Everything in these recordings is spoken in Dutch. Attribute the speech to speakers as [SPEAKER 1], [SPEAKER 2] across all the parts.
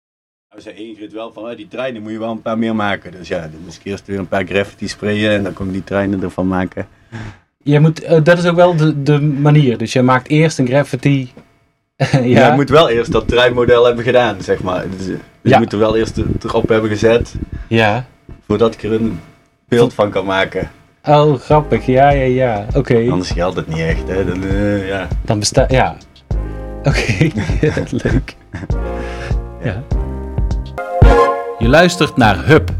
[SPEAKER 1] vaker Nou, zei Ingrid wel van, "Hé, die treinen moet je wel een paar meer maken. Dus ja, dan moest ik eerst weer een paar graffiti sprayen en dan kon ik die treinen ervan maken.
[SPEAKER 2] Je moet, eh, dat is ook wel de, de manier. Dus je maakt eerst een graffiti. ja,
[SPEAKER 1] Ja, je moet wel eerst dat treinmodel hebben gedaan, zeg maar. Dus, eh,
[SPEAKER 2] Ja.
[SPEAKER 1] Je moet er wel eerst de- erop hebben gezet,
[SPEAKER 2] ja.
[SPEAKER 1] voordat ik er een beeld van kan maken.
[SPEAKER 2] Oh, grappig. Ja, ja, ja. Oké.
[SPEAKER 1] Anders geldt het niet echt, hè. Dan, eh, ja.
[SPEAKER 2] Dan bestaat. Ja. Oké. Leuk. Ja.
[SPEAKER 3] Je luistert naar Hub,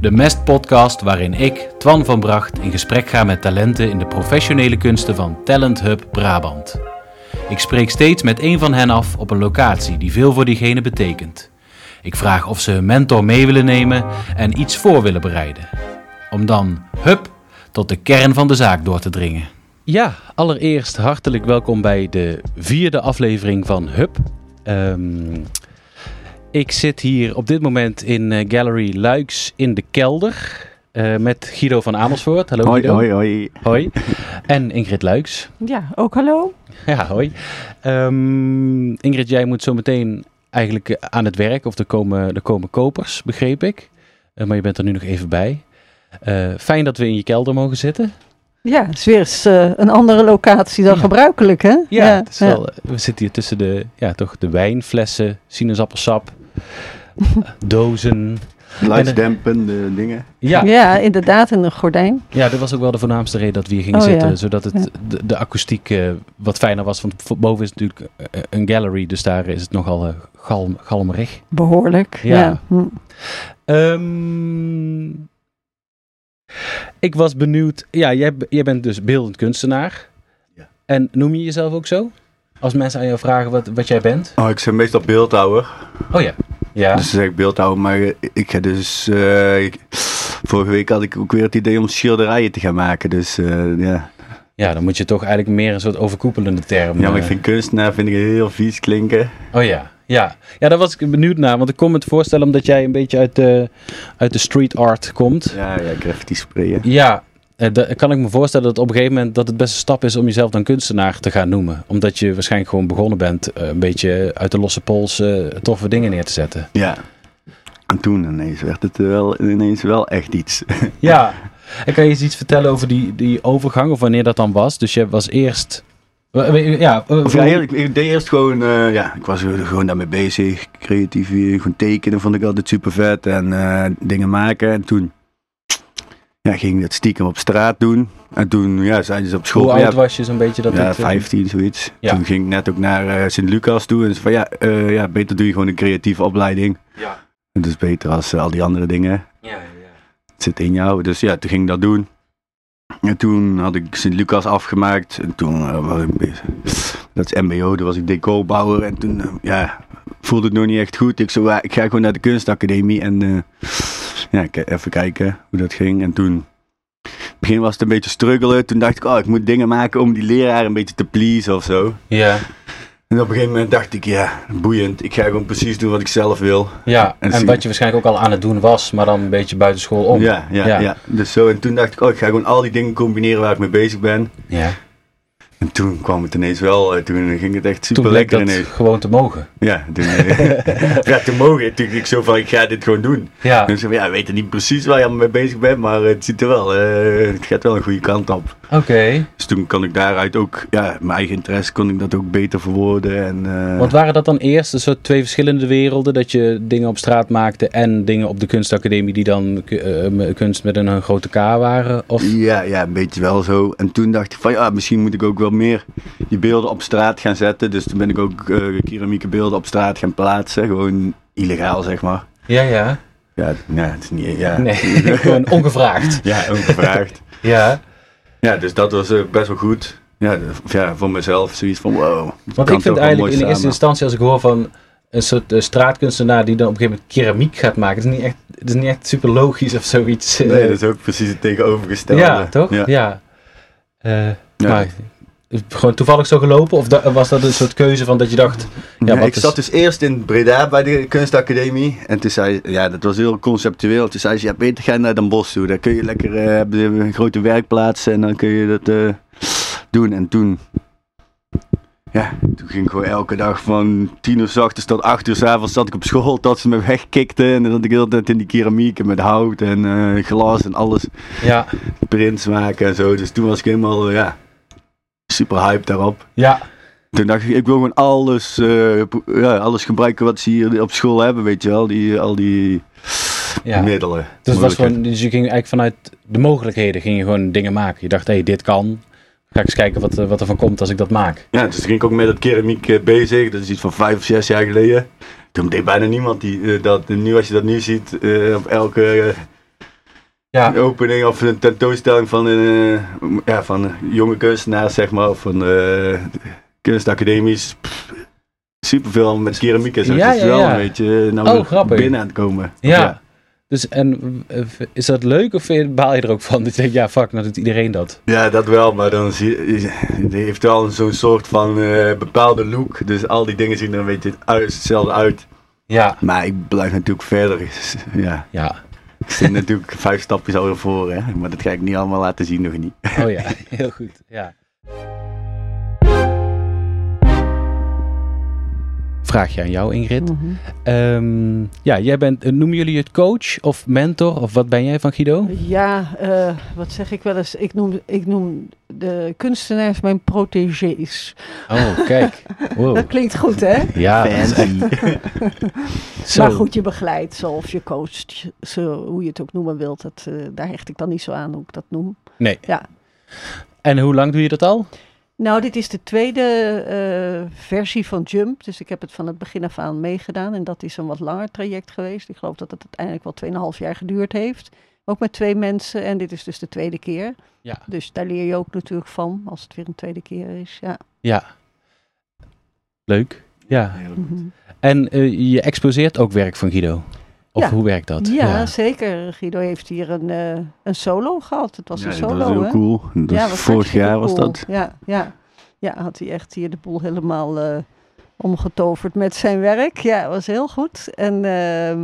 [SPEAKER 3] de mestpodcast waarin ik, Twan van Bracht, in gesprek ga met talenten in de professionele kunsten van Talent Hub Brabant. Ik spreek steeds met een van hen af op een locatie die veel voor diegene betekent. Ik vraag of ze hun mentor mee willen nemen en iets voor willen bereiden. Om dan, hup, tot de kern van de zaak door te dringen. Ja, allereerst hartelijk welkom bij de vierde aflevering van Hub. Ehm, ik zit hier op dit moment in eh, Gallery Luiks in de kelder eh, met Guido van Amersfoort. Hallo
[SPEAKER 1] Hoi,
[SPEAKER 2] Guido.
[SPEAKER 1] hoi, hoi.
[SPEAKER 2] Hoi. En Ingrid Luiks.
[SPEAKER 4] Ja, ook hallo.
[SPEAKER 2] Ja, hoi. Ehm, Ingrid, jij moet zo meteen eigenlijk eh, aan het werk, of er komen, er komen kopers, begreep ik. Eh, maar je bent er nu nog even bij. Eh, fijn dat we in je kelder mogen zitten.
[SPEAKER 4] Ja, het is weer eens eh, een andere locatie dan
[SPEAKER 2] Ja.
[SPEAKER 4] gebruikelijk, hè? Ja,
[SPEAKER 2] het is wel, eh, we zitten hier tussen de, ja, toch de wijnflessen, sinaasappelsap, eh, dozen.
[SPEAKER 1] Geluidsdempende dingen.
[SPEAKER 4] ja.
[SPEAKER 2] Ja,
[SPEAKER 4] ja, inderdaad, in een gordijn.
[SPEAKER 2] ja, dat was ook wel de voornaamste reden dat we hier gingen
[SPEAKER 4] Oh,
[SPEAKER 2] zitten.
[SPEAKER 4] ja.
[SPEAKER 2] Zodat het,
[SPEAKER 4] Ja.
[SPEAKER 2] de, de akoestiek eh, wat fijner was. Want vo- boven is het natuurlijk eh, een gallery, dus daar is het nogal eh, galm, galmerig.
[SPEAKER 4] Behoorlijk.
[SPEAKER 2] Ja.
[SPEAKER 4] Ja. Hm.
[SPEAKER 2] Ehm, ik was benieuwd. Ja, jij, b- jij bent dus beeldend kunstenaar.
[SPEAKER 1] Ja.
[SPEAKER 2] En noem je jezelf ook zo? Als mensen aan jou vragen wat, wat jij bent?
[SPEAKER 1] Oh, ik ben meestal beeldhouwer.
[SPEAKER 2] Oh ja. Ja.
[SPEAKER 1] Dus dan zeg ik beeldhouwer, maar eh, ik ga dus... eh, ik- vorige week had ik ook weer het idee om schilderijen te gaan maken, dus eh, ja.
[SPEAKER 2] ja, dan moet je toch eigenlijk meer een soort overkoepelende term.
[SPEAKER 1] Ja, maar
[SPEAKER 2] eh,
[SPEAKER 1] ik vind kunstenaar vind ik heel vies klinken.
[SPEAKER 2] Oh ja. Ja. ja, daar was ik benieuwd naar. Want ik kon me het voorstellen omdat jij een beetje uit de, uit de street art komt.
[SPEAKER 1] Ja, ja, graffiti sprayen.
[SPEAKER 2] Ja, eh, da- kan ik me voorstellen dat op een gegeven moment dat het best een stap is om jezelf dan kunstenaar te gaan noemen. Omdat je waarschijnlijk gewoon begonnen bent eh, een beetje uit de losse pols eh, toffe dingen neer te zetten.
[SPEAKER 1] Ja. En toen ineens werd het wel, ineens wel echt iets.
[SPEAKER 2] Ja, en kan je eens iets vertellen over die, die overgang of wanneer dat dan was? Dus je was eerst... Wa- wa- Ja, eh,
[SPEAKER 1] Of ja, eerlijk, ik deed eerst gewoon, eh, ja, ik was er gewoon daarmee bezig. Creatief, eh, gewoon tekenen vond ik altijd super vet en eh, dingen maken. En toen ja, ging ik dat stiekem op straat doen. En toen ja, zeiden ze op school,
[SPEAKER 2] hoe
[SPEAKER 1] van, ja,
[SPEAKER 2] oud was je zo'n beetje? Dat
[SPEAKER 1] ja,
[SPEAKER 2] het, eh,
[SPEAKER 1] 15, zoiets.
[SPEAKER 2] Ja.
[SPEAKER 1] Toen ging ik net ook naar eh, Sint-Lucas toe. En ze van ja, eh, ja, beter doe je gewoon een creatieve opleiding.
[SPEAKER 2] Ja.
[SPEAKER 1] Dat is beter als eh, al die andere dingen.
[SPEAKER 2] Ja,
[SPEAKER 1] Het zit in jou. Dus ja, toen ging ik dat doen. En toen had ik Sint-Lucas afgemaakt. En toen eh, was ik bezig. Dat is MBO, toen was ik decorbouwer. En toen eh, ja, voelde het nog niet echt goed. Ik zei, "Ja, ik ga gewoon naar de kunstacademie. En eh, ja, ik- eh, even kijken hoe dat ging. En toen, in het begin was het een beetje struggelen. Toen dacht ik, oh, ik moet dingen maken om die leraar een beetje te pleasen of zo.
[SPEAKER 2] ja.
[SPEAKER 1] En op een gegeven moment dacht ik, ja, boeiend. Ik ga gewoon precies doen wat ik zelf wil.
[SPEAKER 2] ja.
[SPEAKER 1] En
[SPEAKER 2] En,
[SPEAKER 1] zie-
[SPEAKER 2] wat je waarschijnlijk ook al aan het doen was, maar dan een beetje buiten school om.
[SPEAKER 1] Ja, ja,
[SPEAKER 2] Ja.
[SPEAKER 1] ja, Dus zo, en toen dacht ik, oh, ik ga gewoon al die dingen combineren waar ik mee bezig ben.
[SPEAKER 2] Ja.
[SPEAKER 1] En toen kwam het ineens wel, eh, toen ging het echt
[SPEAKER 2] Toen
[SPEAKER 1] super
[SPEAKER 2] bleek
[SPEAKER 1] lekker
[SPEAKER 2] dat
[SPEAKER 1] ineens.
[SPEAKER 2] gewoon te mogen.
[SPEAKER 1] Ja, toen, eh, ja, toen mogen. Toen dacht ik zo van, ik ga dit gewoon doen.
[SPEAKER 2] Ja.
[SPEAKER 1] En ze van, ja, ik weet er niet precies waar je allemaal mee bezig bent, maar het ziet er wel, eh, het gaat wel een goede kant op.
[SPEAKER 2] Oké.
[SPEAKER 1] Dus toen kon ik daaruit ook, ja, mijn eigen interesse kon ik dat ook beter verwoorden. En, eh,
[SPEAKER 2] Want waren dat dan eerst een soort twee verschillende werelden? Dat je dingen op straat maakte en dingen op de kunstacademie die dan eh, eh, kunst met een, eh, grote K waren? Of...
[SPEAKER 1] Ja, ja, een beetje wel zo. En toen dacht ik van ja, misschien moet ik ook wel meer die beelden op straat gaan zetten. Dus toen ben ik ook eh keramieke beelden op straat gaan plaatsen. Gewoon illegaal, zeg maar.
[SPEAKER 2] Ja, ja.
[SPEAKER 1] Ja, nee, het is niet. Ja,
[SPEAKER 2] Nee, gewoon ongevraagd.
[SPEAKER 1] ja ongevraagd.
[SPEAKER 2] Ja.
[SPEAKER 1] ja, dus dat was eh, best wel goed. Ja, de- of ja, voor mezelf zoiets van wow. dat
[SPEAKER 2] Want
[SPEAKER 1] kan
[SPEAKER 2] ik vind
[SPEAKER 1] toch wel mooi
[SPEAKER 2] eigenlijk in de eerste
[SPEAKER 1] samen.
[SPEAKER 2] instantie, als ik hoor van een soort eh, straatkunstenaar die dan op een gegeven moment keramiek gaat maken, het is niet echt, het is niet echt super logisch of zoiets. eh.
[SPEAKER 1] Nee, dat is ook precies het tegenovergestelde.
[SPEAKER 2] ja, toch? Ja. Eh,
[SPEAKER 1] Ja.
[SPEAKER 2] Maar is het gewoon toevallig zo gelopen? Of da- was dat een soort keuze van dat je dacht.
[SPEAKER 1] Ja,
[SPEAKER 2] wat
[SPEAKER 1] ik
[SPEAKER 2] is-
[SPEAKER 1] zat dus eerst in Breda bij de kunstacademie. En toen zei ja, dat was heel conceptueel. Toen zei ze, ja, beter ga je naar Den Bosch toe. Daar kun je lekker, eh, hebben ze een grote werkplaats en dan kun je dat eh, doen. En toen Ja, toen ging ik gewoon elke dag van tien uur 's ochtends tot acht uur 's avonds zat ik op school tot ze me wegkikten. En dan zat ik de hele tijd in die keramiek en met hout en eh, glas en alles.
[SPEAKER 2] Ja,
[SPEAKER 1] Prints maken en zo. Dus toen was ik helemaal, eh, ja, super hyped daarop.
[SPEAKER 2] ja.
[SPEAKER 1] Toen dacht ik, ik wil gewoon alles, eh, pro- ja, alles gebruiken wat ze hier op school hebben, weet je wel. Die, al die
[SPEAKER 2] Ja.
[SPEAKER 1] middelen.
[SPEAKER 2] Dus, het was
[SPEAKER 1] Mogelijkheden.
[SPEAKER 2] gewoon, dus je ging eigenlijk vanuit de mogelijkheden ging je gewoon dingen maken. Je dacht, hé, hey, dit kan. Ga ik eens kijken wat, eh, wat er van komt als ik dat maak.
[SPEAKER 1] Ja, dus toen ging ik ook met dat keramiek eh, bezig. Dat is iets van vijf of zes jaar geleden. Toen deed bijna niemand die, eh, dat. En nu als je dat nu ziet, eh, op elke
[SPEAKER 2] Ja.
[SPEAKER 1] eh, opening of een tentoonstelling van, eh, ja, van jonge kunstenaars, zeg maar. Of van eh, kunstacademies. Pff, Superveel allemaal met keramiek en zo.
[SPEAKER 2] Ja,
[SPEAKER 1] dat is
[SPEAKER 2] ja,
[SPEAKER 1] wel
[SPEAKER 2] ja.
[SPEAKER 1] een beetje eh, nou
[SPEAKER 2] Oh,
[SPEAKER 1] weer
[SPEAKER 2] grappig.
[SPEAKER 1] binnen aan het komen.
[SPEAKER 2] Ja. Dus en eh, is dat leuk of vind- baal je er ook van? Dat je denkt, ja, fuck, nou doet iedereen dat.
[SPEAKER 1] Ja, dat wel, maar dan zie je, die heeft wel zo'n soort van eh, bepaalde look. Dus al die dingen zien er een beetje uit, hetzelfde uit.
[SPEAKER 2] Ja.
[SPEAKER 1] Maar ik blijf natuurlijk verder. Ja,
[SPEAKER 2] Ja.
[SPEAKER 1] ik zit natuurlijk vijf stapjes al voor, hè. Maar dat ga ik niet allemaal laten zien, nog niet.
[SPEAKER 2] Oh ja, heel goed. Ja. Vraagje aan jou, Ingrid.
[SPEAKER 4] Mhm.
[SPEAKER 2] Ehm, ja, jij bent, eh, noemen jullie het coach of mentor? Of wat ben jij van Guido?
[SPEAKER 4] Ja, eh, wat zeg ik wel eens? Ik noem, ik noem de kunstenaars mijn protégés.
[SPEAKER 2] Oh, kijk. Wow.
[SPEAKER 4] Dat klinkt goed, hè?
[SPEAKER 2] Ja, dat is echt- zo.
[SPEAKER 4] Maar goed, je begeleidt ze of je coacht je- ze, hoe je het ook noemen wilt. Dat, eh, daar hecht ik dan niet zo aan hoe ik dat noem.
[SPEAKER 2] Nee.
[SPEAKER 4] Ja.
[SPEAKER 2] En hoe lang doe je dat al?
[SPEAKER 4] Nou, dit is de tweede eh, versie van Jump. Dus ik heb het van het begin af aan meegedaan. En dat is een wat langer traject geweest. Ik geloof dat het uiteindelijk wel 2,5 jaar geduurd heeft. Ook met twee mensen. En dit is dus de tweede keer.
[SPEAKER 2] Ja.
[SPEAKER 4] Dus daar leer je ook natuurlijk van als het weer een tweede keer is. Ja.
[SPEAKER 2] Ja. Leuk. Ja.
[SPEAKER 4] Mhm.
[SPEAKER 2] En eh, je exposeert ook werk van Guido. Of
[SPEAKER 4] Ja.
[SPEAKER 2] hoe werkt dat?
[SPEAKER 4] Ja, zeker. Guido heeft hier een, eh, een solo gehad. Het was
[SPEAKER 1] Ja,
[SPEAKER 4] een solo,
[SPEAKER 1] dat is heel
[SPEAKER 4] hè?
[SPEAKER 1] cool. Dat
[SPEAKER 4] Ja, was
[SPEAKER 1] vorig
[SPEAKER 4] hartstikke
[SPEAKER 1] jaar was
[SPEAKER 4] cool.
[SPEAKER 1] dat.
[SPEAKER 4] Ja, ja. ja, had hij echt hier de boel helemaal eh, omgetoverd met zijn werk. Ja, was heel goed. En, ehm,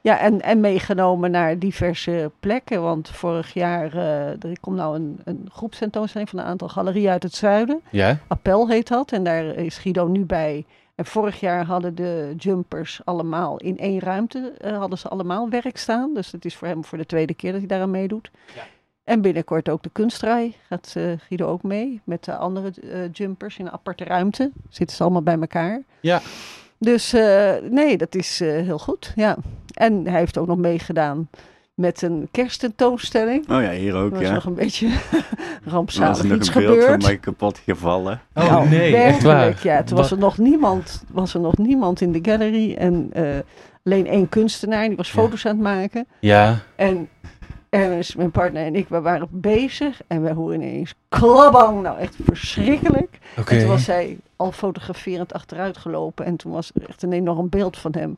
[SPEAKER 4] ja, en, en meegenomen naar diverse plekken. Want vorig jaar, eh, er komt nou een, een groepstentoonstelling van een aantal galerieën uit het zuiden.
[SPEAKER 2] Ja?
[SPEAKER 4] Appel heet dat. En daar is Guido nu bij. En vorig jaar hadden de jumpers allemaal in één ruimte eh, hadden ze allemaal werk staan. Dus het is voor hem voor de tweede keer dat hij daaraan meedoet. En binnenkort ook de kunstrij gaat eh, Guido ook mee. Met de andere eh, jumpers in een aparte ruimte. Zitten ze allemaal bij elkaar.
[SPEAKER 2] Ja.
[SPEAKER 4] Dus eh, nee, dat is eh, heel goed. Ja. En hij heeft ook nog meegedaan met een kersttentoonstelling.
[SPEAKER 1] Oh ja, hier ook,
[SPEAKER 4] Dat was
[SPEAKER 1] ja.
[SPEAKER 4] nog een beetje
[SPEAKER 1] Er was
[SPEAKER 4] rampzalig
[SPEAKER 1] nog
[SPEAKER 4] iets
[SPEAKER 1] een beeld van
[SPEAKER 4] gebeurd.
[SPEAKER 1] mij kapot gevallen.
[SPEAKER 4] Nou,
[SPEAKER 2] Oh, echt
[SPEAKER 4] werkelijk,
[SPEAKER 2] waar.
[SPEAKER 4] Ja, toen was er, nog niemand, was er nog niemand in de gallery. En eh, alleen één kunstenaar, die was
[SPEAKER 2] Ja.
[SPEAKER 4] foto's aan het maken.
[SPEAKER 2] Ja.
[SPEAKER 4] En Ernest, mijn partner en ik, we waren bezig. En we horen ineens klabang. Nou, echt verschrikkelijk.
[SPEAKER 2] Oké.
[SPEAKER 4] En toen was zij al fotograferend achteruit gelopen. En toen was er echt een enorm beeld van hem.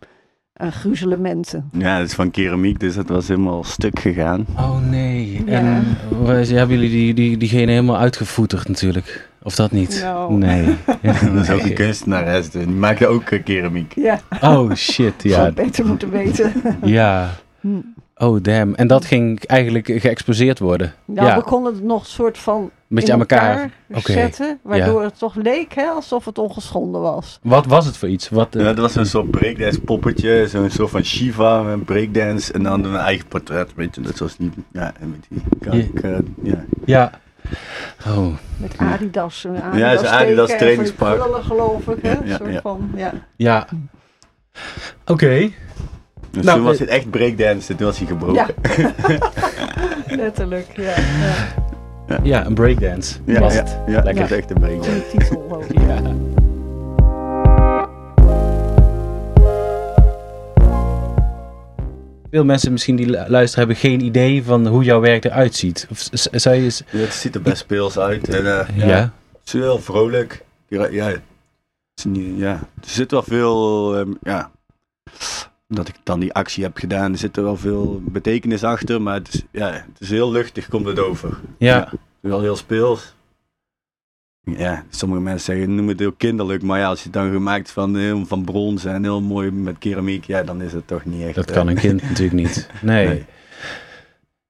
[SPEAKER 4] Aan gruzelementen.
[SPEAKER 1] Ja, dat is van keramiek, dus dat was helemaal stuk gegaan.
[SPEAKER 2] Oh nee.
[SPEAKER 4] Ja.
[SPEAKER 2] En wij- hebben jullie die, die, diegene helemaal uitgevoeterd natuurlijk? Of dat niet?
[SPEAKER 4] Nou.
[SPEAKER 2] Nee.
[SPEAKER 1] Dat is ook een kunstenares, dus die maakte ook eh, keramiek.
[SPEAKER 4] Ja,
[SPEAKER 2] Oh shit,
[SPEAKER 4] ja.
[SPEAKER 2] ja.
[SPEAKER 4] beter moeten weten.
[SPEAKER 2] Ja.
[SPEAKER 4] Hm.
[SPEAKER 2] Oh damn. En dat ging eigenlijk geëxposeerd worden.
[SPEAKER 4] Nou,
[SPEAKER 2] Ja.
[SPEAKER 4] we konden het nog soort van
[SPEAKER 2] Beetje
[SPEAKER 4] in
[SPEAKER 2] aan elkaar. Oké.
[SPEAKER 4] zetten. Waardoor het toch leek hè, alsof het ongeschonden was.
[SPEAKER 2] Wat was het voor iets? Wat, eh,
[SPEAKER 1] Ja, dat was een soort breakdance poppetje, zo'n soort van Shiva, een breakdance en dan een eigen portret, weet je, dat was niet, ja, en met die kank, eh, ja.
[SPEAKER 2] ja. Oh,
[SPEAKER 4] Met Adidas. een Adidas
[SPEAKER 1] zo'n Adidas
[SPEAKER 4] teken en
[SPEAKER 1] trainingspak.
[SPEAKER 4] van die krullen, geloof ik. Hè?
[SPEAKER 1] Ja, ja,
[SPEAKER 4] soort
[SPEAKER 1] ja.
[SPEAKER 4] Van, ja.
[SPEAKER 2] ja. Oké.
[SPEAKER 1] Dus
[SPEAKER 2] Nou,
[SPEAKER 1] toen was
[SPEAKER 2] eh,
[SPEAKER 1] het echt breakdance en toen was hij
[SPEAKER 4] ja.
[SPEAKER 1] gebroken.
[SPEAKER 4] Letterlijk, ja. ja.
[SPEAKER 2] Ja, een breakdance
[SPEAKER 1] Ja,
[SPEAKER 2] was
[SPEAKER 1] ja,
[SPEAKER 2] het.
[SPEAKER 1] ja, dat
[SPEAKER 4] Ja.
[SPEAKER 1] was echt een breakdance.
[SPEAKER 4] Die titel ook.
[SPEAKER 2] Ja. Veel mensen misschien die lu- luisteren hebben geen idee van hoe jouw werk eruit ziet. Of z- z- zou je... eens-
[SPEAKER 1] Het ziet er best speels uit en eh, ja.
[SPEAKER 2] Ja.
[SPEAKER 1] het is heel vrolijk. Ja, ja, het is niet, ja, er zit wel veel, ehm, ja, dat ik dan die actie heb gedaan, er zit er wel veel betekenis achter, maar het is, ja, het is heel luchtig, komt het over.
[SPEAKER 2] Ja.
[SPEAKER 1] Wel heel speels. Ja, sommige mensen zeggen, noem het heel kinderlijk, maar ja, als je het dan gemaakt van, heel- van brons en heel mooi met keramiek, ja, dan is het toch niet echt.
[SPEAKER 2] Dat kan
[SPEAKER 1] eh,
[SPEAKER 2] een kind natuurlijk niet. Nee.
[SPEAKER 1] Nee.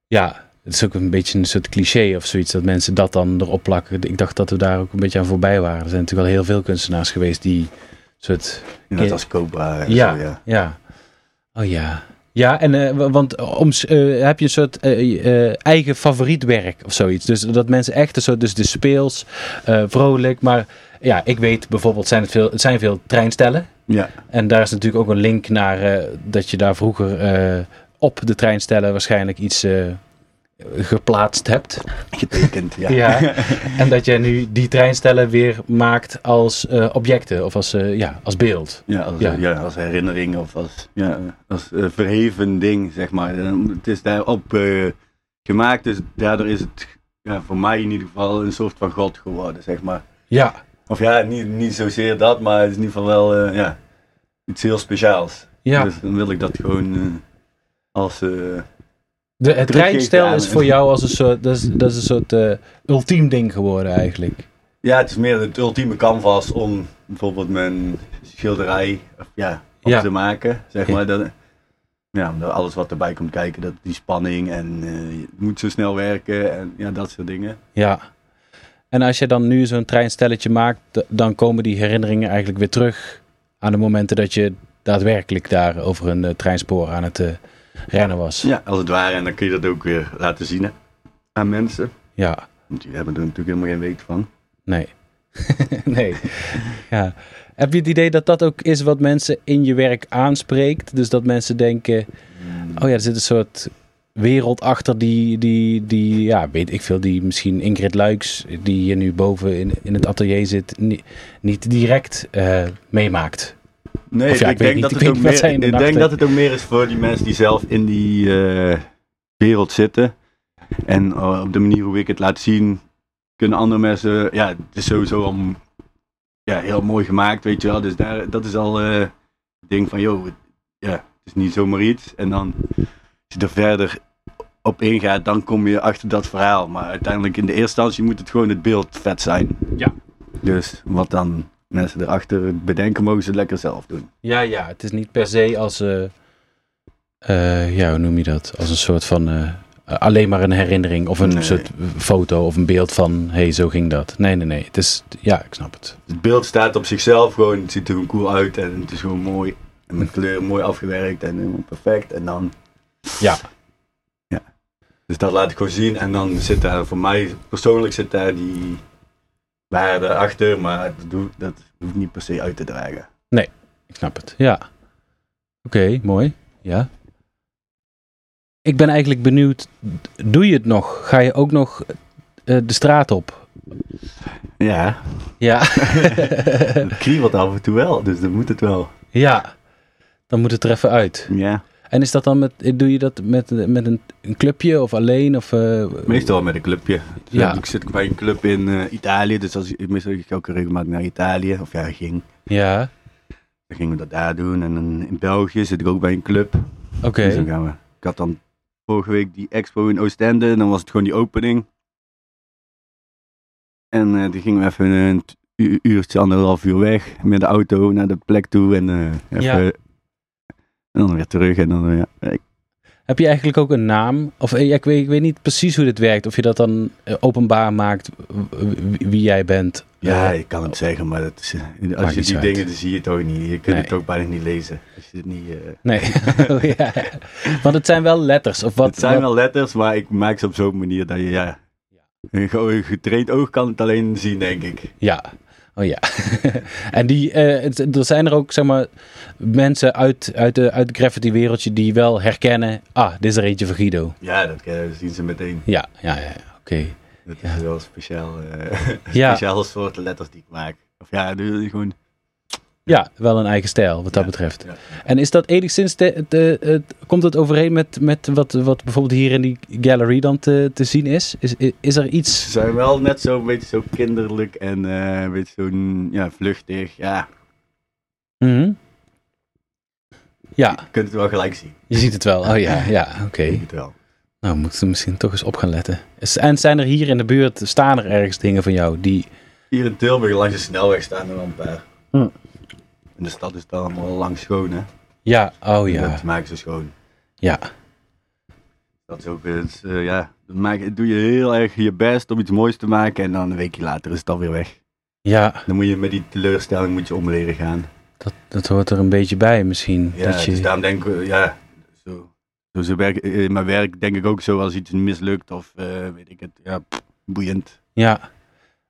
[SPEAKER 2] Ja. Het is ook een beetje een soort cliché of zoiets dat mensen dat dan erop plakken. Ik dacht dat we daar ook een beetje aan voorbij waren. Er zijn natuurlijk wel heel veel kunstenaars geweest die soort.
[SPEAKER 1] Net als Cobra. en
[SPEAKER 2] Ja,
[SPEAKER 1] zo, ja.
[SPEAKER 2] ja. Oh ja. Ja, en eh, wa- want om, s- eh, heb je een soort eh, eh, eigen favoriet werk of zoiets. Dus dat mensen echt een soort, dus de speels, eh, vrolijk. Maar ja, ik weet bijvoorbeeld, zijn het, veel, het zijn veel treinstellen.
[SPEAKER 1] Ja.
[SPEAKER 2] En daar is natuurlijk ook een link naar eh, dat je daar vroeger eh, op de treinstellen waarschijnlijk iets eh, geplaatst hebt.
[SPEAKER 1] getekend. Ja.
[SPEAKER 2] Ja. en dat jij nu die treinstellen weer maakt als eh, objecten of als, eh, ja, als beeld.
[SPEAKER 1] Ja, als,
[SPEAKER 2] Ja.
[SPEAKER 1] ja. als herinnering of als, ja, als eh, verheven ding, zeg maar. En Het is daarop eh, gemaakt, dus daardoor is het ja, voor mij in ieder geval een soort van god geworden, zeg maar.
[SPEAKER 2] Ja,
[SPEAKER 1] Of ja, niet, niet zozeer dat, maar het is in ieder geval wel eh, ja, iets heel speciaals.
[SPEAKER 2] ja.
[SPEAKER 1] Dus dan wil ik dat gewoon eh, als... eh,
[SPEAKER 2] De, het
[SPEAKER 1] Druk je
[SPEAKER 2] treinstel
[SPEAKER 1] aan
[SPEAKER 2] is
[SPEAKER 1] en-
[SPEAKER 2] voor jou als een soort, dat is, dat is een soort eh, ultiem ding geworden eigenlijk.
[SPEAKER 1] ja, het is meer het ultieme canvas om bijvoorbeeld mijn schilderij of, ja, op
[SPEAKER 2] Ja.
[SPEAKER 1] te maken, zeg
[SPEAKER 2] Ja.
[SPEAKER 1] maar. Dat, ja, omdat alles wat erbij komt kijken, dat, die spanning en eh, je moet zo snel werken en ja, dat soort dingen.
[SPEAKER 2] Ja. En als je dan nu zo'n treinstelletje maakt, d- dan komen die herinneringen eigenlijk weer terug aan de momenten dat je daadwerkelijk daar over een eh, treinspoor aan het eh, rennen was.
[SPEAKER 1] Ja, als het ware. En dan kun je dat ook weer laten zien hè, aan mensen.
[SPEAKER 2] Ja.
[SPEAKER 1] Want die hebben er natuurlijk helemaal geen weet van.
[SPEAKER 2] Nee. nee. Ja. Heb je het idee dat dat ook is wat mensen in je werk aanspreekt? Dus dat mensen denken, oh ja, er zit een soort wereld achter die, die, die ja, weet ik veel, die misschien Ingrid Luiks, die hier nu boven in, in het atelier zit, ni- niet direct eh, meemaakt.
[SPEAKER 1] Nee,
[SPEAKER 2] Of ja, ik
[SPEAKER 1] ik,
[SPEAKER 2] weet
[SPEAKER 1] denk,
[SPEAKER 2] niet,
[SPEAKER 1] dat
[SPEAKER 2] ik
[SPEAKER 1] het,
[SPEAKER 2] weet
[SPEAKER 1] ook
[SPEAKER 2] niet wat
[SPEAKER 1] meer,
[SPEAKER 2] zij in
[SPEAKER 1] ik
[SPEAKER 2] de
[SPEAKER 1] denk
[SPEAKER 2] nacht
[SPEAKER 1] dat het ook meer is voor die mensen die zelf in die eh, wereld zitten. En eh, op de manier hoe ik het laat zien, kunnen andere mensen... Ja, het is sowieso al m- ja, heel mooi gemaakt, weet je wel. Dus daar, dat is al eh, het ding van, joh, het, ja, het is niet zomaar iets. En dan, als je er verder op ingaat, dan kom je achter dat verhaal. Maar uiteindelijk in de eerste instantie moet het gewoon het beeld vet zijn.
[SPEAKER 2] Ja.
[SPEAKER 1] Dus wat dan mensen erachter bedenken, mogen ze lekker zelf doen.
[SPEAKER 2] Ja, ja, het is niet per se als, eh, eh, ja, hoe noem je dat? Als een soort van, eh, alleen maar een herinnering of een
[SPEAKER 1] Nee.
[SPEAKER 2] soort foto of een beeld van, hé, hey, zo ging dat. Nee, nee, nee, het is, ja, ik snap het.
[SPEAKER 1] Het beeld staat op zichzelf gewoon, het ziet er gewoon cool uit en het is gewoon mooi. En met kleur mooi afgewerkt en helemaal perfect. En dan,
[SPEAKER 2] Ja.
[SPEAKER 1] dus dat laat ik gewoon zien. En dan zit daar, voor mij persoonlijk zit daar die waarde achter, maar dat, doe- dat hoeft niet per se uit te dragen.
[SPEAKER 2] Ik snap het, ja. Oké, mooi. Ja. Ik ben eigenlijk benieuwd, doe je het nog? Ga je ook nog eh, de straat op?
[SPEAKER 1] Ja,
[SPEAKER 2] Ja.
[SPEAKER 1] het kriebelt af en toe wel, dus dan moet het wel.
[SPEAKER 2] ja. Dan moet het er even uit.
[SPEAKER 1] Ja,
[SPEAKER 2] En is dat dan met, doe je dat met, met een, een clubje of alleen? Of, eh,
[SPEAKER 1] meestal met een clubje. Dus
[SPEAKER 2] Ja.
[SPEAKER 1] Ik zit bij een club in eh, Italië, dus als, ik- meestal ga ik ook regelmatig naar Italië. Of ja, ging.
[SPEAKER 2] Ja,
[SPEAKER 1] Dan gingen we dat daar doen. En dan in België zit ik ook bij een club.
[SPEAKER 2] oké.
[SPEAKER 1] Dus dan gaan we. Ik had dan vorige week die expo in Oostende. En dan was het gewoon die opening. En eh, die gingen we even een t- u- uurtje, anderhalf uur weg. Met de auto naar de plek toe. En, eh, even,
[SPEAKER 2] Ja.
[SPEAKER 1] en dan weer terug. En dan, eh, ja, ik-
[SPEAKER 2] Heb je eigenlijk ook een naam? Of eh, ja, ik, weet, ik weet niet precies hoe dit werkt. Of je dat dan eh, openbaar maakt w- w- wie jij bent.
[SPEAKER 1] ja,
[SPEAKER 2] Eh,
[SPEAKER 1] je kan het zeggen. Maar dat is, eh,
[SPEAKER 2] Maakt
[SPEAKER 1] als je
[SPEAKER 2] niet
[SPEAKER 1] die
[SPEAKER 2] uit.
[SPEAKER 1] dingen, dan zie je het ook niet. Je kunt
[SPEAKER 2] Nee.
[SPEAKER 1] het ook bijna niet lezen. Als je het niet... eh,
[SPEAKER 2] Nee. Oh, ja. Want het zijn wel letters. Of wat,
[SPEAKER 1] het zijn
[SPEAKER 2] wat-
[SPEAKER 1] wel letters, maar ik maak ze op zo'n manier dat je, ja... Een ge- getraind oog kan het alleen zien, denk ik.
[SPEAKER 2] Ja. Oh ja. en die, eh, het- er zijn er ook, zeg maar, mensen uit, uit, de, uit het graffiti wereldje die wel herkennen. Ah, dit is er eentje van Guido.
[SPEAKER 1] Ja, dat eh, zien ze meteen.
[SPEAKER 2] Ja, ja, ja. Oké.
[SPEAKER 1] Dat is wel speciaal, eh
[SPEAKER 2] Ja.
[SPEAKER 1] speciaal soort letters die ik maak. Of ja, dus gewoon.
[SPEAKER 2] Ja, wel een eigen stijl wat dat
[SPEAKER 1] Ja,
[SPEAKER 2] betreft.
[SPEAKER 1] ja.
[SPEAKER 2] En is dat enigszins, te, te- het- komt het overeen met, met wat, wat bijvoorbeeld hier in die gallery dan te, te zien is? Is, is er
[SPEAKER 1] Ze
[SPEAKER 2] iets?
[SPEAKER 1] zijn wel net zo een beetje zo kinderlijk en eh, een beetje zo'n ja, vluchtig. Ja,
[SPEAKER 2] Mhm. Ja,
[SPEAKER 1] je kunt het wel gelijk zien.
[SPEAKER 2] je ziet het wel. Oh ja, ja, oké.
[SPEAKER 1] Ik denk het wel.
[SPEAKER 2] Nou, moeten we misschien toch eens op gaan letten. Is- En zijn er hier in de buurt, staan er ergens dingen van jou die...
[SPEAKER 1] Hier in Tilburg langs de snelweg staan er wel een paar.
[SPEAKER 2] Hm.
[SPEAKER 1] En de stad is het allemaal lang schoon, hè?
[SPEAKER 2] oh Ja, oh ja,
[SPEAKER 1] Dat maken ze schoon.
[SPEAKER 2] ja.
[SPEAKER 1] Dat is ook, het, eh, ja, dan maak, doe je heel erg je best om iets moois te maken en dan een weekje later is het alweer weg.
[SPEAKER 2] Ja,
[SPEAKER 1] Dan moet je met die teleurstelling moet je omleren gaan.
[SPEAKER 2] dat, dat hoort er een beetje bij misschien.
[SPEAKER 1] Ja,
[SPEAKER 2] dat je,
[SPEAKER 1] dus daarom denk ik, eh, ja, zo, zo, zo werk, eh, in mijn werk denk ik ook zo als iets mislukt of eh, weet ik het, ja, pff, boeiend.
[SPEAKER 2] ja.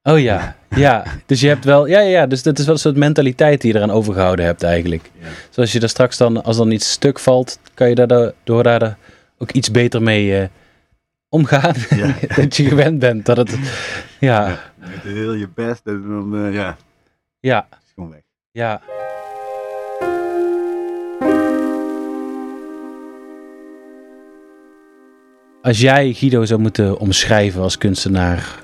[SPEAKER 2] Oh ja, ja. Dus je hebt wel, ja, ja, ja. Dus dat is wel een soort mentaliteit die je eraan overgehouden hebt eigenlijk.
[SPEAKER 1] Ja.
[SPEAKER 2] Zoals je er straks dan, als dan iets stuk valt, kan je daardoor daar ook iets beter mee eh, omgaan.
[SPEAKER 1] Ja.
[SPEAKER 2] dat je gewend bent dat het, ja,
[SPEAKER 1] Je doet heel je best en dan, eh, ja, het
[SPEAKER 2] ja,
[SPEAKER 1] is gewoon weg.
[SPEAKER 2] ja. Als jij Guido zou moeten omschrijven als kunstenaar,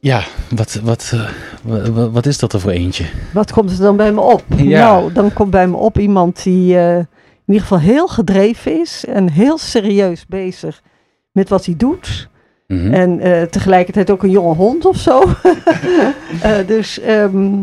[SPEAKER 2] ja, wat, wat, eh, wa- wa- wat is dat er voor eentje?
[SPEAKER 4] Wat komt er dan bij me op?
[SPEAKER 2] Ja.
[SPEAKER 4] Nou, dan komt bij me op iemand die eh, in ieder geval heel gedreven is en heel serieus bezig met wat hij doet.
[SPEAKER 2] Mhm.
[SPEAKER 4] En eh, tegelijkertijd ook een jonge hond of zo. Eh, dus ehm,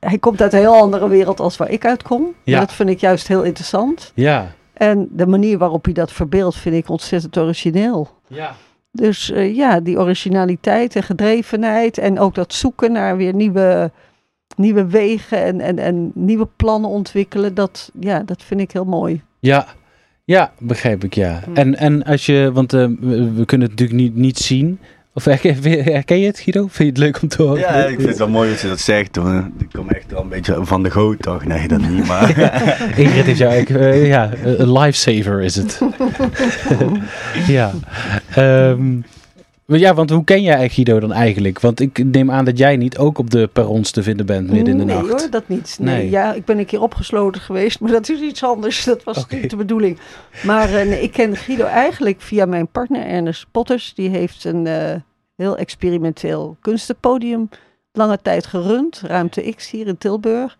[SPEAKER 4] hij komt uit een heel andere wereld als waar ik uitkom.
[SPEAKER 2] Ja.
[SPEAKER 4] En dat vind ik juist heel interessant.
[SPEAKER 2] Ja.
[SPEAKER 4] En de manier waarop hij dat verbeeldt vind ik ontzettend origineel.
[SPEAKER 2] Ja.
[SPEAKER 4] Dus eh, ja, die originaliteit en gedrevenheid en ook dat zoeken naar weer nieuwe, nieuwe wegen en, en, en nieuwe plannen ontwikkelen, dat, ja, dat vind ik heel mooi.
[SPEAKER 2] Ja, ja begrijp ik, ja.
[SPEAKER 4] Hm.
[SPEAKER 2] En, en als je, want eh, we, we kunnen het natuurlijk niet, niet zien. Of herken, herken je het, Guido? Vind je het leuk om te horen?
[SPEAKER 1] Ja, ik vind het wel mooi dat ze dat zegt. hoor. Ik kom echt wel een beetje van de goot, toch? Nee, dat niet, maar...
[SPEAKER 2] Ingrid is jou eigenlijk, eh, ja, een lifesaver is het. ja. Ehm, maar ja, want hoe ken jij eigenlijk Guido dan eigenlijk? Want ik neem aan dat jij niet ook op de perrons te vinden bent midden in de
[SPEAKER 4] nee
[SPEAKER 2] nacht.
[SPEAKER 4] hoor, dat niet. Nee.
[SPEAKER 2] Nee.
[SPEAKER 4] Ja, ik ben een keer opgesloten geweest, maar dat is iets anders. Dat was
[SPEAKER 2] Oké.
[SPEAKER 4] niet de bedoeling. Maar eh, nee, ik ken Guido eigenlijk via mijn partner Ernest Potters. Die heeft een eh, heel experimenteel kunstenpodium lange tijd gerund. Ruimte X hier in Tilburg.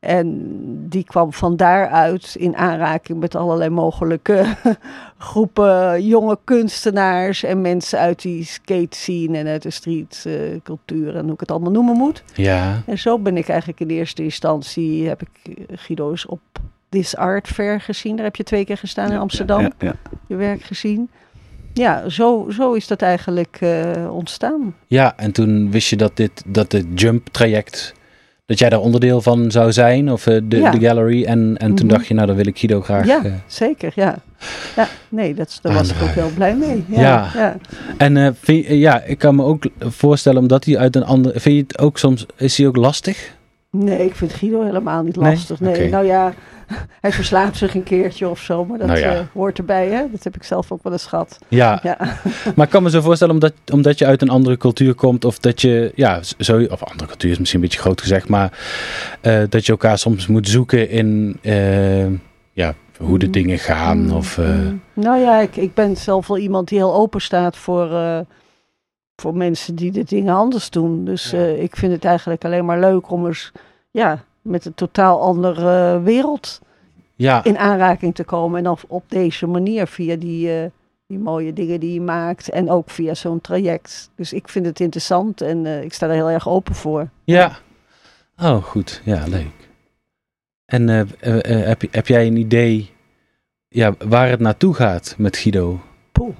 [SPEAKER 4] En die kwam van daaruit in aanraking met allerlei mogelijke groepen jonge kunstenaars en mensen uit die skate scene en uit de streetcultuur cultuur en hoe ik het allemaal noemen moet.
[SPEAKER 2] Ja,
[SPEAKER 4] En zo ben ik eigenlijk in eerste instantie, heb ik eh, Guido's op This Art Fair gezien. Daar heb je twee keer gestaan in Amsterdam,
[SPEAKER 1] Ja, ja.
[SPEAKER 4] je werk gezien. Ja, zo, zo is dat eigenlijk eh, ontstaan.
[SPEAKER 2] ja, en toen wist je dat dit, dat dit jump traject, dat jij daar onderdeel van zou zijn, of eh, de,
[SPEAKER 4] Ja.
[SPEAKER 2] de gallery. En, en toen
[SPEAKER 4] Mhm.
[SPEAKER 2] dacht je, nou dan wil ik Guido graag.
[SPEAKER 4] ja,
[SPEAKER 2] eh,
[SPEAKER 4] zeker, ja. ja nee, dat, is- daar was ik ook heel blij mee. Ja,
[SPEAKER 2] Ja.
[SPEAKER 4] ja.
[SPEAKER 2] En eh, vind je- ja, ik kan me ook voorstellen, omdat hij uit een ander. Vind je het ook soms. Is hij ook lastig?
[SPEAKER 4] Nee, ik vind Guido helemaal niet
[SPEAKER 2] Nee?
[SPEAKER 4] lastig. Nee,
[SPEAKER 2] Oké.
[SPEAKER 4] nou ja, hij verslaapt zich een keertje of zo, maar dat
[SPEAKER 2] Nou ja.
[SPEAKER 4] eh, hoort erbij, hè. Dat heb ik zelf ook wel eens gehad.
[SPEAKER 2] Ja.
[SPEAKER 4] Ja.
[SPEAKER 2] Maar ik kan me zo voorstellen, omdat, omdat je uit een andere cultuur komt. Of dat je. Ja, zo, of andere cultuur is misschien een beetje groot gezegd. Maar eh, dat je elkaar soms moet zoeken in. eh, ja, hoe de
[SPEAKER 4] Mm.
[SPEAKER 2] dingen gaan.
[SPEAKER 4] Mm,
[SPEAKER 2] Of. eh,
[SPEAKER 4] mm. Nou ja, ik, ik ben zelf wel iemand die heel open staat voor, eh, voor mensen die de dingen anders doen. Dus eh, ik vind het eigenlijk alleen maar leuk om eens ja, met een totaal andere eh, wereld
[SPEAKER 2] ja.
[SPEAKER 4] in aanraking te komen. En dan op deze manier, via die, eh, die mooie dingen die je maakt en ook via zo'n traject. Dus ik vind het interessant en eh, ik sta er heel erg open voor.
[SPEAKER 2] Ja. Oh, goed. Ja, leuk. En eh, eh, eh, heb, heb jij een idee. Ja, waar het naartoe gaat met Guido?
[SPEAKER 4] Poeh.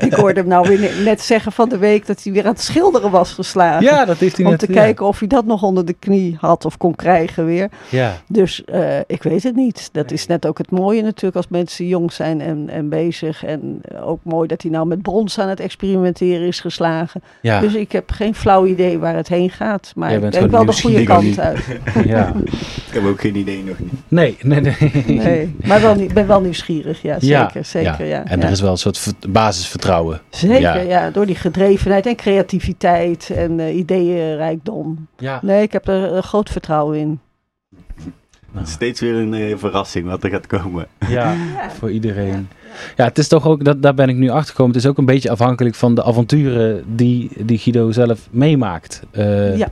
[SPEAKER 4] ik hoorde hem nou weer ne- net zeggen van de week dat hij weer aan het schilderen was geslagen.
[SPEAKER 2] Ja, dat heeft hij
[SPEAKER 4] Om
[SPEAKER 2] net
[SPEAKER 4] te
[SPEAKER 2] ja.
[SPEAKER 4] kijken of hij dat nog onder de knie had of kon krijgen weer.
[SPEAKER 2] Ja.
[SPEAKER 4] Dus eh, ik weet het niet. Dat is net ook het mooie natuurlijk als mensen jong zijn en, en bezig. En ook mooi dat hij nou met brons aan het experimenteren is geslagen.
[SPEAKER 2] Ja.
[SPEAKER 4] Dus ik heb geen flauw idee waar het heen gaat. Maar
[SPEAKER 2] Jij
[SPEAKER 4] ik
[SPEAKER 2] bent
[SPEAKER 4] denk
[SPEAKER 2] gewoon
[SPEAKER 4] wel de goede
[SPEAKER 1] nieuwsgierig.
[SPEAKER 4] kant uit.
[SPEAKER 2] ja.
[SPEAKER 1] Ik heb ook geen idee nog niet.
[SPEAKER 2] Nee, nee, nee.
[SPEAKER 4] Nee, maar wel, nie- ben wel nieuwsgierig. Ja,
[SPEAKER 2] Ja,
[SPEAKER 4] zeker. zeker ja.
[SPEAKER 2] En
[SPEAKER 4] ja.
[SPEAKER 2] er is wel een soort ver- basisvertrouwen.
[SPEAKER 4] Zeker,
[SPEAKER 2] ja.
[SPEAKER 4] ja. Door die gedrevenheid en creativiteit en eh, ideeënrijkdom.
[SPEAKER 2] Ja.
[SPEAKER 4] Nee, ik heb er eh, groot vertrouwen in.
[SPEAKER 1] Het is steeds weer een eh, verrassing wat er gaat komen.
[SPEAKER 2] Ja, voor iedereen. Ja, het is toch ook, dat, daar ben ik nu achter gekomen. Het is ook een beetje afhankelijk van de avonturen die, die Guido zelf meemaakt. Eh,
[SPEAKER 4] Ja.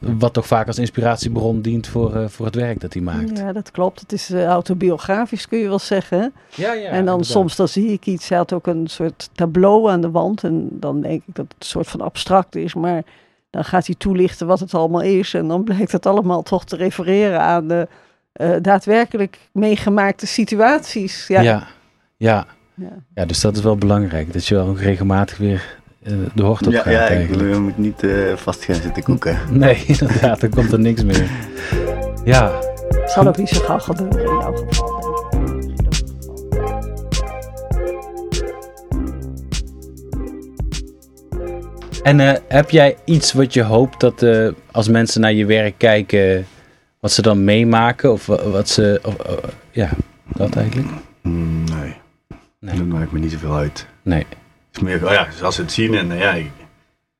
[SPEAKER 2] Wat toch vaak als inspiratiebron dient voor, eh, voor het werk dat hij maakt.
[SPEAKER 4] Ja, dat klopt. Het is eh, autobiografisch, kun je wel zeggen.
[SPEAKER 2] Ja, ja.
[SPEAKER 4] en dan soms dan zie ik iets. Hij had ook een soort tableau aan de wand. En dan denk ik dat het een soort van abstract is. Maar dan gaat hij toelichten wat het allemaal is. En dan blijkt het allemaal toch te refereren aan de eh, daadwerkelijk meegemaakte situaties. Ja,
[SPEAKER 2] Ja.
[SPEAKER 4] ja.
[SPEAKER 2] Ja. Ja.
[SPEAKER 4] Ja.
[SPEAKER 2] ja, dus dat is wel belangrijk. Dat je wel ook regelmatig weer eh, de hoort op
[SPEAKER 1] Ja,
[SPEAKER 2] gaat
[SPEAKER 1] ja ik
[SPEAKER 2] eigenlijk.
[SPEAKER 1] wil- je moet niet eh, vast gaan zitten koeken.
[SPEAKER 2] Nee, inderdaad, dan komt er niks meer. Ja,
[SPEAKER 4] Het zal ook niet zo gauw gebeuren in jouw geval. denk ik.
[SPEAKER 2] en eh, heb jij iets wat je hoopt dat eh, als mensen naar je werk kijken, wat ze dan meemaken? Of wa- wat ze. of, eh, ja, dat eigenlijk.
[SPEAKER 1] Mm, Nee.
[SPEAKER 2] Nee.
[SPEAKER 1] dat maakt me niet zoveel uit.
[SPEAKER 2] Nee.
[SPEAKER 1] Het is meer, oh ja, dus als ze het zien en eh, ja, ik-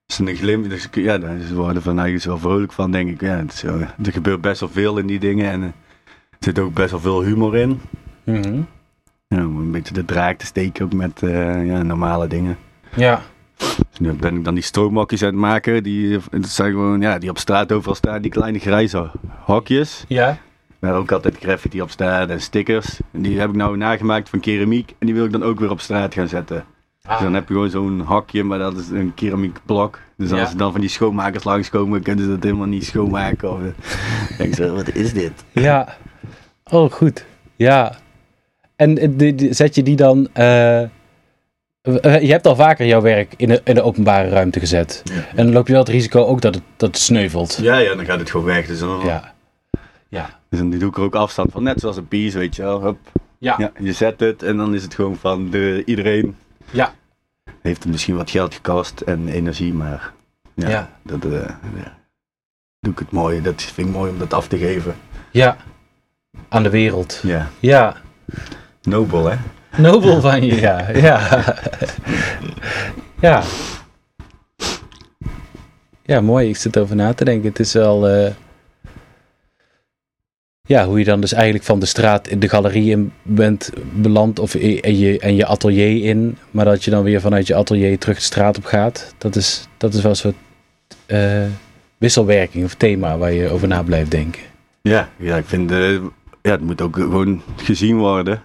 [SPEAKER 1] als ze een glimp, dus, ik- ja, dan ze worden van eigenlijk wel vrolijk van, denk ik. Ja, het is, eh, er gebeurt best wel veel in die dingen en eh, er zit ook best wel veel humor in.
[SPEAKER 2] Mhm.
[SPEAKER 1] Ja, om een beetje de draak te steken ook met eh, ja, normale dingen.
[SPEAKER 2] Ja.
[SPEAKER 1] Dus nu ben ik dan die stroomhokjes aan het maken. Die, eh, dat zijn gewoon, ja, die op straat overal staan, die kleine grijze hokjes.
[SPEAKER 2] Ja.
[SPEAKER 1] Waar ook altijd graffiti op staat en stickers. En die heb ik nou nagemaakt van keramiek. En die wil ik dan ook weer op straat gaan zetten.
[SPEAKER 2] Ah.
[SPEAKER 1] Dus dan heb je gewoon zo'n hakje, maar dat is een keramiekblok. Dus
[SPEAKER 2] Ja.
[SPEAKER 1] als er dan van die schoonmakers langskomen, kunnen ze dat helemaal niet schoonmaken. Of, Ik denk zo, wat is dit?
[SPEAKER 2] Ja. Oh, goed. Ja. En eh, die- die- zet je die dan. eh, eh, je hebt al vaker jouw werk in de, in de openbare ruimte gezet.
[SPEAKER 1] Ja.
[SPEAKER 2] En dan loop je wel het risico ook dat het, dat het sneuvelt.
[SPEAKER 1] Ja, ja, dan gaat het gewoon weg. Dus dan,
[SPEAKER 2] Ja. Ja.
[SPEAKER 1] dus dan doe ik er ook afstand van. Net zoals een pies, weet je wel. Hup.
[SPEAKER 2] Ja.
[SPEAKER 1] Ja, je zet het en dan is het gewoon van de, iedereen.
[SPEAKER 2] Ja.
[SPEAKER 1] Heeft het misschien wat geld gekost en energie, maar ja,
[SPEAKER 2] Ja.
[SPEAKER 1] dat eh, ja. doe ik het mooi. Dat vind ik mooi om dat af te geven.
[SPEAKER 2] Ja. Aan de wereld.
[SPEAKER 1] Ja,
[SPEAKER 2] Ja.
[SPEAKER 1] nobel hè?
[SPEAKER 2] Nobel van je, ja. Ja. ja. Ja, mooi. Ik zit over na te denken. Het is wel... eh, ja, hoe je dan dus eigenlijk van de straat in de galerie in bent beland of i- en je, en je atelier in. Maar dat je dan weer vanuit je atelier terug de straat op gaat. Dat is, dat is wel een soort eh, wisselwerking of thema waar je over na blijft denken.
[SPEAKER 1] Ja, ja ik vind eh, ja, het moet ook gewoon gezien worden.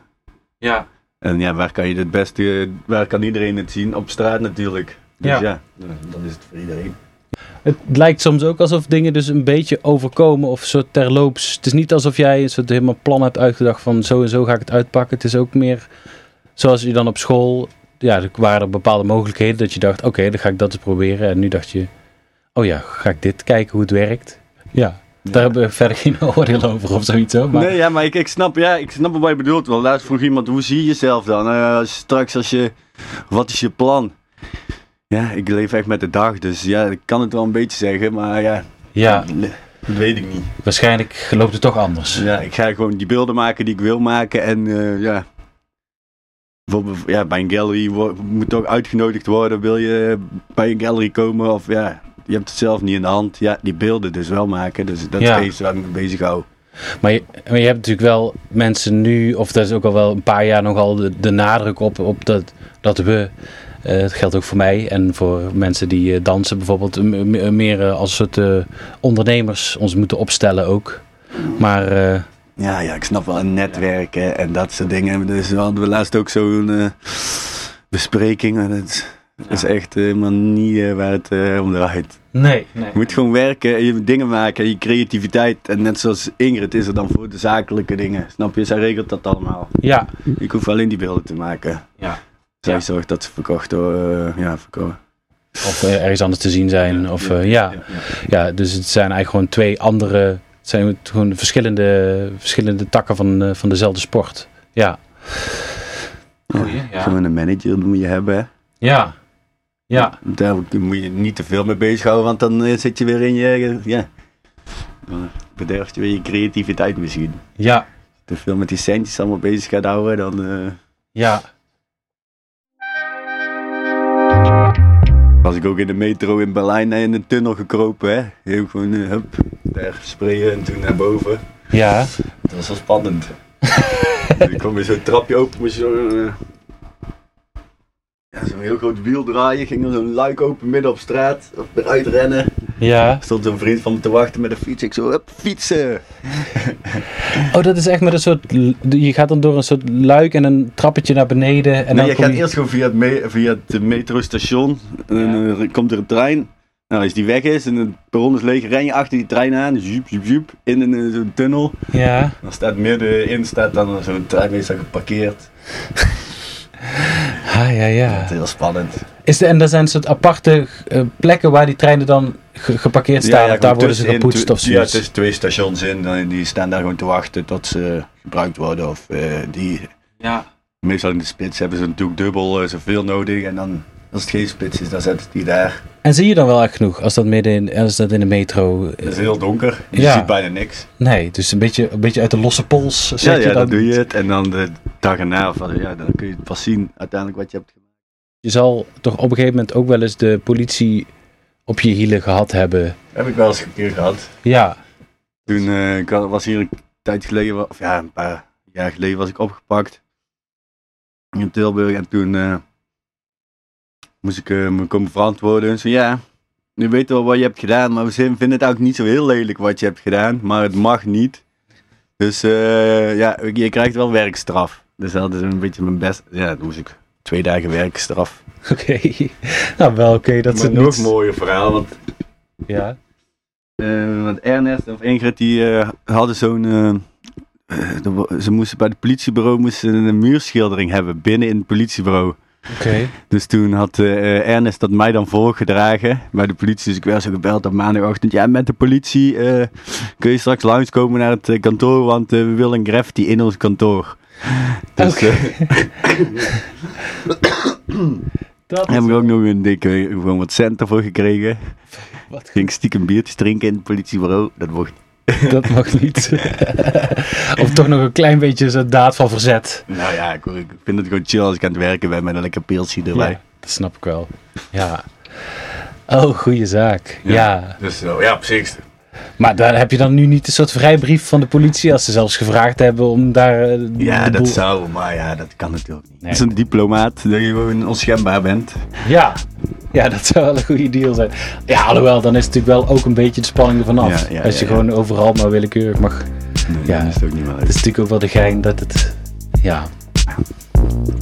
[SPEAKER 2] Ja.
[SPEAKER 1] En ja, waar kan je het beste, waar kan iedereen het zien? Op straat natuurlijk. Dus
[SPEAKER 2] Ja.
[SPEAKER 1] ja, dan is het voor iedereen.
[SPEAKER 2] Het lijkt soms ook alsof dingen dus een beetje overkomen of zo terloops. Het is niet alsof jij een soort helemaal plan hebt uitgedacht van zo en zo ga ik het uitpakken. Het is ook meer zoals je dan op school, ja, er waren er bepaalde mogelijkheden dat je dacht, oké, dan ga ik dat eens proberen. En nu dacht je, oh ja, ga ik dit kijken hoe het werkt. Ja, daar hebben we verder geen oordeel over of zoiets. Hoor. Maar
[SPEAKER 1] Nee, ja, maar ik, ik, snap, ja, ik snap wat je bedoelt. Want laatst vroeg iemand, hoe zie je jezelf dan? Eh, als- straks als je, wat is je plan? Ja, ik leef echt met de dag, dus ja, ik kan het wel een beetje zeggen, maar ja,
[SPEAKER 2] ja,
[SPEAKER 1] dat weet ik niet.
[SPEAKER 2] waarschijnlijk loopt het toch anders.
[SPEAKER 1] Ja, ik ga gewoon die beelden maken die ik wil maken. En eh, ja. Bijvoorbeeld, ja, bij een gallery wo- moet ook uitgenodigd worden. Wil je bij een gallery komen? Of ja, je hebt het zelf niet in de hand. Ja, die beelden dus wel maken. Dus dat
[SPEAKER 2] Ja.
[SPEAKER 1] is iets waar ik me bezig hou.
[SPEAKER 2] Maar je, maar je hebt natuurlijk wel mensen nu, of dat is ook al wel een paar jaar nogal de, de nadruk op, op dat, dat we, eh dat geldt ook voor mij en voor mensen die eh, dansen bijvoorbeeld, m- m- meer eh, als soort eh, ondernemers ons moeten opstellen ook. Maar eh,
[SPEAKER 1] Ja, ja, ik snap wel een netwerk hè, en dat soort dingen. Dus we hadden we laatst ook zo'n eh, bespreking. En dat is, dat is echt helemaal niet eh, waar het eh, om draait.
[SPEAKER 2] nee, nee.
[SPEAKER 1] Je moet gewoon werken, en je dingen maken, en je creativiteit. En net zoals Ingrid is er dan voor de zakelijke dingen. Snap je? Zij regelt dat allemaal.
[SPEAKER 2] Ja,
[SPEAKER 1] Ik hoef alleen die beelden te maken.
[SPEAKER 2] Ja.
[SPEAKER 1] Zij
[SPEAKER 2] Ja.
[SPEAKER 1] zorgt dat ze verkocht worden. eh, ja, verkocht.
[SPEAKER 2] of eh, ergens anders te zien zijn. Of, eh, ja.
[SPEAKER 1] Ja,
[SPEAKER 2] ja, dus het zijn eigenlijk gewoon twee andere, het zijn gewoon verschillende, verschillende takken van, eh, van dezelfde sport. Ja.
[SPEAKER 1] Gewoon een manager moet je hebben. Hè.
[SPEAKER 2] Ja. Ja.
[SPEAKER 1] Daar moet je niet te veel mee bezighouden, want dan eh, zit je weer in je. Ja. Dan bederft je weer je creativiteit misschien.
[SPEAKER 2] Ja.
[SPEAKER 1] Te veel met die centjes allemaal bezig gaat houden, dan. eh,
[SPEAKER 2] Ja.
[SPEAKER 1] Was ik ook in de metro in Berlijn in een tunnel gekropen, hè? Heel gewoon, eh, hup, daar sprayen en toen naar boven.
[SPEAKER 2] Ja.
[SPEAKER 1] Dat was wel spannend. ik kwam weer zo'n trapje open, moest je zo... eh, ja, zo'n heel groot wiel draaien, ging er zo'n luik open midden op straat, op eruit rennen.
[SPEAKER 2] Ja.
[SPEAKER 1] Stond zo'n vriend van me te wachten met een fiets, ik zo, hup, fietsen!
[SPEAKER 2] Oh, dat is echt met een soort. Je gaat dan door een soort luik en een trappetje naar beneden. En dan
[SPEAKER 1] nee, je
[SPEAKER 2] kom
[SPEAKER 1] gaat
[SPEAKER 2] je-
[SPEAKER 1] eerst gewoon via het, me- via het eh, metrostation. En dan eh, komt er een trein. Nou, als die weg is en het perron is leeg, ren je achter die trein aan. Zoep, zoep, zoep. In een eh, zo'n tunnel.
[SPEAKER 2] Ja.
[SPEAKER 1] Dan staat middenin staat dan zo'n treinmeester geparkeerd.
[SPEAKER 2] Ah, ja, ja.
[SPEAKER 1] Dat is heel spannend.
[SPEAKER 2] Is de, en dat zijn soort aparte eh, plekken waar die treinen dan ge- geparkeerd staan.
[SPEAKER 1] daar
[SPEAKER 2] en daar worden ze gepoetst of
[SPEAKER 1] Ja,
[SPEAKER 2] zoiets.
[SPEAKER 1] tussen twee stations in. en Die staan daar gewoon te wachten tot ze gebruikt worden. Of eh, die,
[SPEAKER 3] Ja.
[SPEAKER 1] meestal in de spits hebben ze natuurlijk dubbel eh, zoveel nodig. En dan, als het geen spits is, dan zetten ze die daar.
[SPEAKER 2] En zie je dan wel echt genoeg als dat midden in, als dat in de metro. eh,
[SPEAKER 1] Het is heel donker. Je
[SPEAKER 2] Ja.
[SPEAKER 1] ziet bijna niks.
[SPEAKER 2] nee, dus een beetje, een beetje uit de losse pols. Zet
[SPEAKER 1] Ja,
[SPEAKER 2] je
[SPEAKER 1] ja,
[SPEAKER 2] dan,
[SPEAKER 1] dan doe je het. En dan de dag erna, of, eh, ja, dan kun je pas zien uiteindelijk wat je hebt gemaakt.
[SPEAKER 2] Je zal toch op een gegeven moment ook wel eens de politie op je hielen gehad hebben.
[SPEAKER 1] Heb ik wel eens een keer gehad.
[SPEAKER 2] Ja.
[SPEAKER 1] Toen eh, ik had- was hier een tijd geleden, wa- of ja, een paar jaar geleden was ik opgepakt in Tilburg. En toen eh, moest ik eh, me komen verantwoorden. En zo, ja, nu weten we wat je hebt gedaan, maar we zin- vinden het eigenlijk niet zo heel lelijk wat je hebt gedaan. Maar het mag niet. Dus eh, ja, je krijgt wel werkstraf. Dus dat is een beetje mijn best. Ja, toen moest ik twee dagen werkstraf.
[SPEAKER 2] Oké. Nou, wel oké. dat
[SPEAKER 1] Maar
[SPEAKER 2] ze het
[SPEAKER 1] nog
[SPEAKER 2] niet-
[SPEAKER 1] mooier verhaal, want
[SPEAKER 2] Ja.
[SPEAKER 1] Eh, want Ernest of Ingrid, die eh, hadden zo'n... eh, eh, er wa- ze moesten bij het politiebureau moesten een muurschildering hebben binnen in het politiebureau.
[SPEAKER 2] Oké.
[SPEAKER 1] Dus toen had eh, eh, Ernest dat mij dan voorgedragen bij de politie. Dus ik werd zo gebeld op maandagochtend. Ja, met de politie eh, kun je straks langskomen naar het eh, kantoor, want eh, we willen een graffiti in ons kantoor. Dus
[SPEAKER 2] Oké.
[SPEAKER 1] eh,
[SPEAKER 2] Dat
[SPEAKER 1] daar heb ik ook nog een dikke, gewoon wat centen voor gekregen.
[SPEAKER 2] Wat
[SPEAKER 1] Ging ik stiekem biertjes drinken in het politiebureau. Dat mocht
[SPEAKER 2] Dat mag niet. of toch nog een klein beetje zo'n daad van verzet.
[SPEAKER 1] Nou ja, ik, ik vind het gewoon chill als ik aan het werken ben met een lekker pilsje erbij.
[SPEAKER 2] Dat snap ik wel. Ja. Oh, goede zaak. Ja.
[SPEAKER 1] Dus ja, precies.
[SPEAKER 2] Maar daar heb je dan nu niet een soort vrijbrief van de politie als ze zelfs gevraagd hebben om daar eh, de
[SPEAKER 1] Ja,
[SPEAKER 2] boel-
[SPEAKER 1] dat zou, maar ja, dat kan natuurlijk niet.
[SPEAKER 2] Nee.
[SPEAKER 1] Het is een diplomaat, dat je gewoon onschendbaar bent.
[SPEAKER 2] Ja. Ja, dat zou wel een goede deal zijn. Ja, alhoewel, dan is het natuurlijk wel ook een beetje de spanning ervan af.
[SPEAKER 1] Ja, ja,
[SPEAKER 2] als
[SPEAKER 1] ja,
[SPEAKER 2] je
[SPEAKER 1] ja.
[SPEAKER 2] gewoon overal maar willekeurig mag.
[SPEAKER 1] Nee,
[SPEAKER 2] Ja.
[SPEAKER 1] dat is het ook niet Dus wel
[SPEAKER 2] Het is
[SPEAKER 1] leuk.
[SPEAKER 2] natuurlijk ook wel de gein dat het... Ja.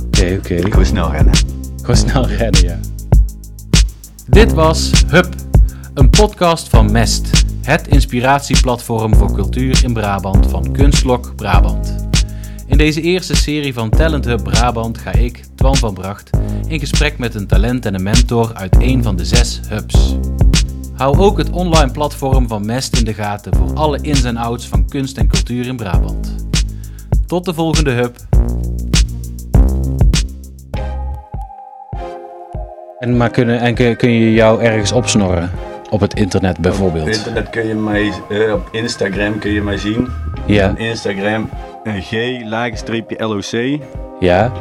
[SPEAKER 2] Oké, oké.
[SPEAKER 1] Gewoon snel rennen.
[SPEAKER 2] Gewoon snel rennen, ja.
[SPEAKER 3] Dit was Hup, een podcast van Mest, het inspiratieplatform voor cultuur in Brabant van Kunstlok Brabant. In deze eerste serie van Talent Hub Brabant ga ik, Twan van Bracht, in gesprek met een talent en een mentor uit een van de zes hubs. Hou ook het online platform van Mest in de gaten voor alle ins en outs van kunst en cultuur in Brabant. Tot de volgende hub.
[SPEAKER 2] En, maar kunnen, en kun, kun je jou ergens opsnorren? Op het internet
[SPEAKER 1] Op
[SPEAKER 2] bijvoorbeeld.
[SPEAKER 1] internet kun je mij, eh, op Instagram kun je mij zien.
[SPEAKER 2] Ja,
[SPEAKER 1] Instagram eh, g-loc.
[SPEAKER 2] ja.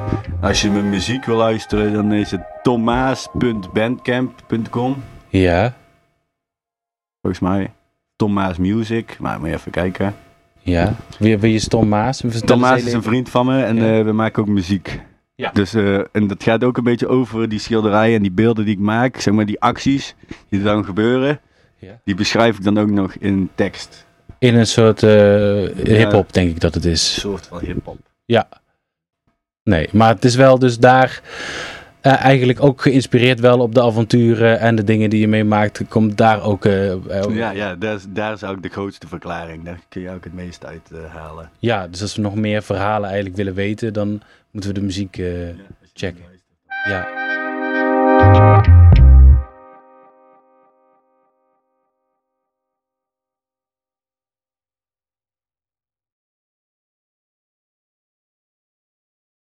[SPEAKER 1] Als je mijn muziek wil luisteren, dan is het thomaas.bandcamp.com.
[SPEAKER 2] Ja,
[SPEAKER 1] Volgens mij. Thomas Music, maar moet je even kijken.
[SPEAKER 2] ja. Wie, wie is Tom Maas? Vertel eens
[SPEAKER 1] Thomas
[SPEAKER 2] heel
[SPEAKER 1] is
[SPEAKER 2] even.
[SPEAKER 1] een vriend van me en
[SPEAKER 2] Ja.
[SPEAKER 1] eh, we maken ook muziek.
[SPEAKER 3] Ja.
[SPEAKER 1] Dus, eh, en dat gaat ook een beetje over die schilderijen en die beelden die ik maak. Zeg maar die acties die dan gebeuren.
[SPEAKER 2] Ja.
[SPEAKER 1] Die beschrijf ik dan ook nog in tekst.
[SPEAKER 2] In een soort eh hip-hop, denk ik dat het
[SPEAKER 1] Een
[SPEAKER 2] is.
[SPEAKER 1] soort van hip-hop.
[SPEAKER 2] Ja. Nee, maar het is wel dus daar eh, eigenlijk ook geïnspireerd wel op de avonturen en de dingen die je meemaakt. Komt daar ook. eh, eh,
[SPEAKER 1] Oh. Ja, ja daar, is, daar is ook de grootste verklaring. Daar kun je ook het meest uit eh, halen.
[SPEAKER 2] ja, dus als we nog meer verhalen eigenlijk willen weten, dan moeten we de muziek. eh,
[SPEAKER 1] Ja, als je
[SPEAKER 2] Check.
[SPEAKER 1] luistert.
[SPEAKER 2] ja.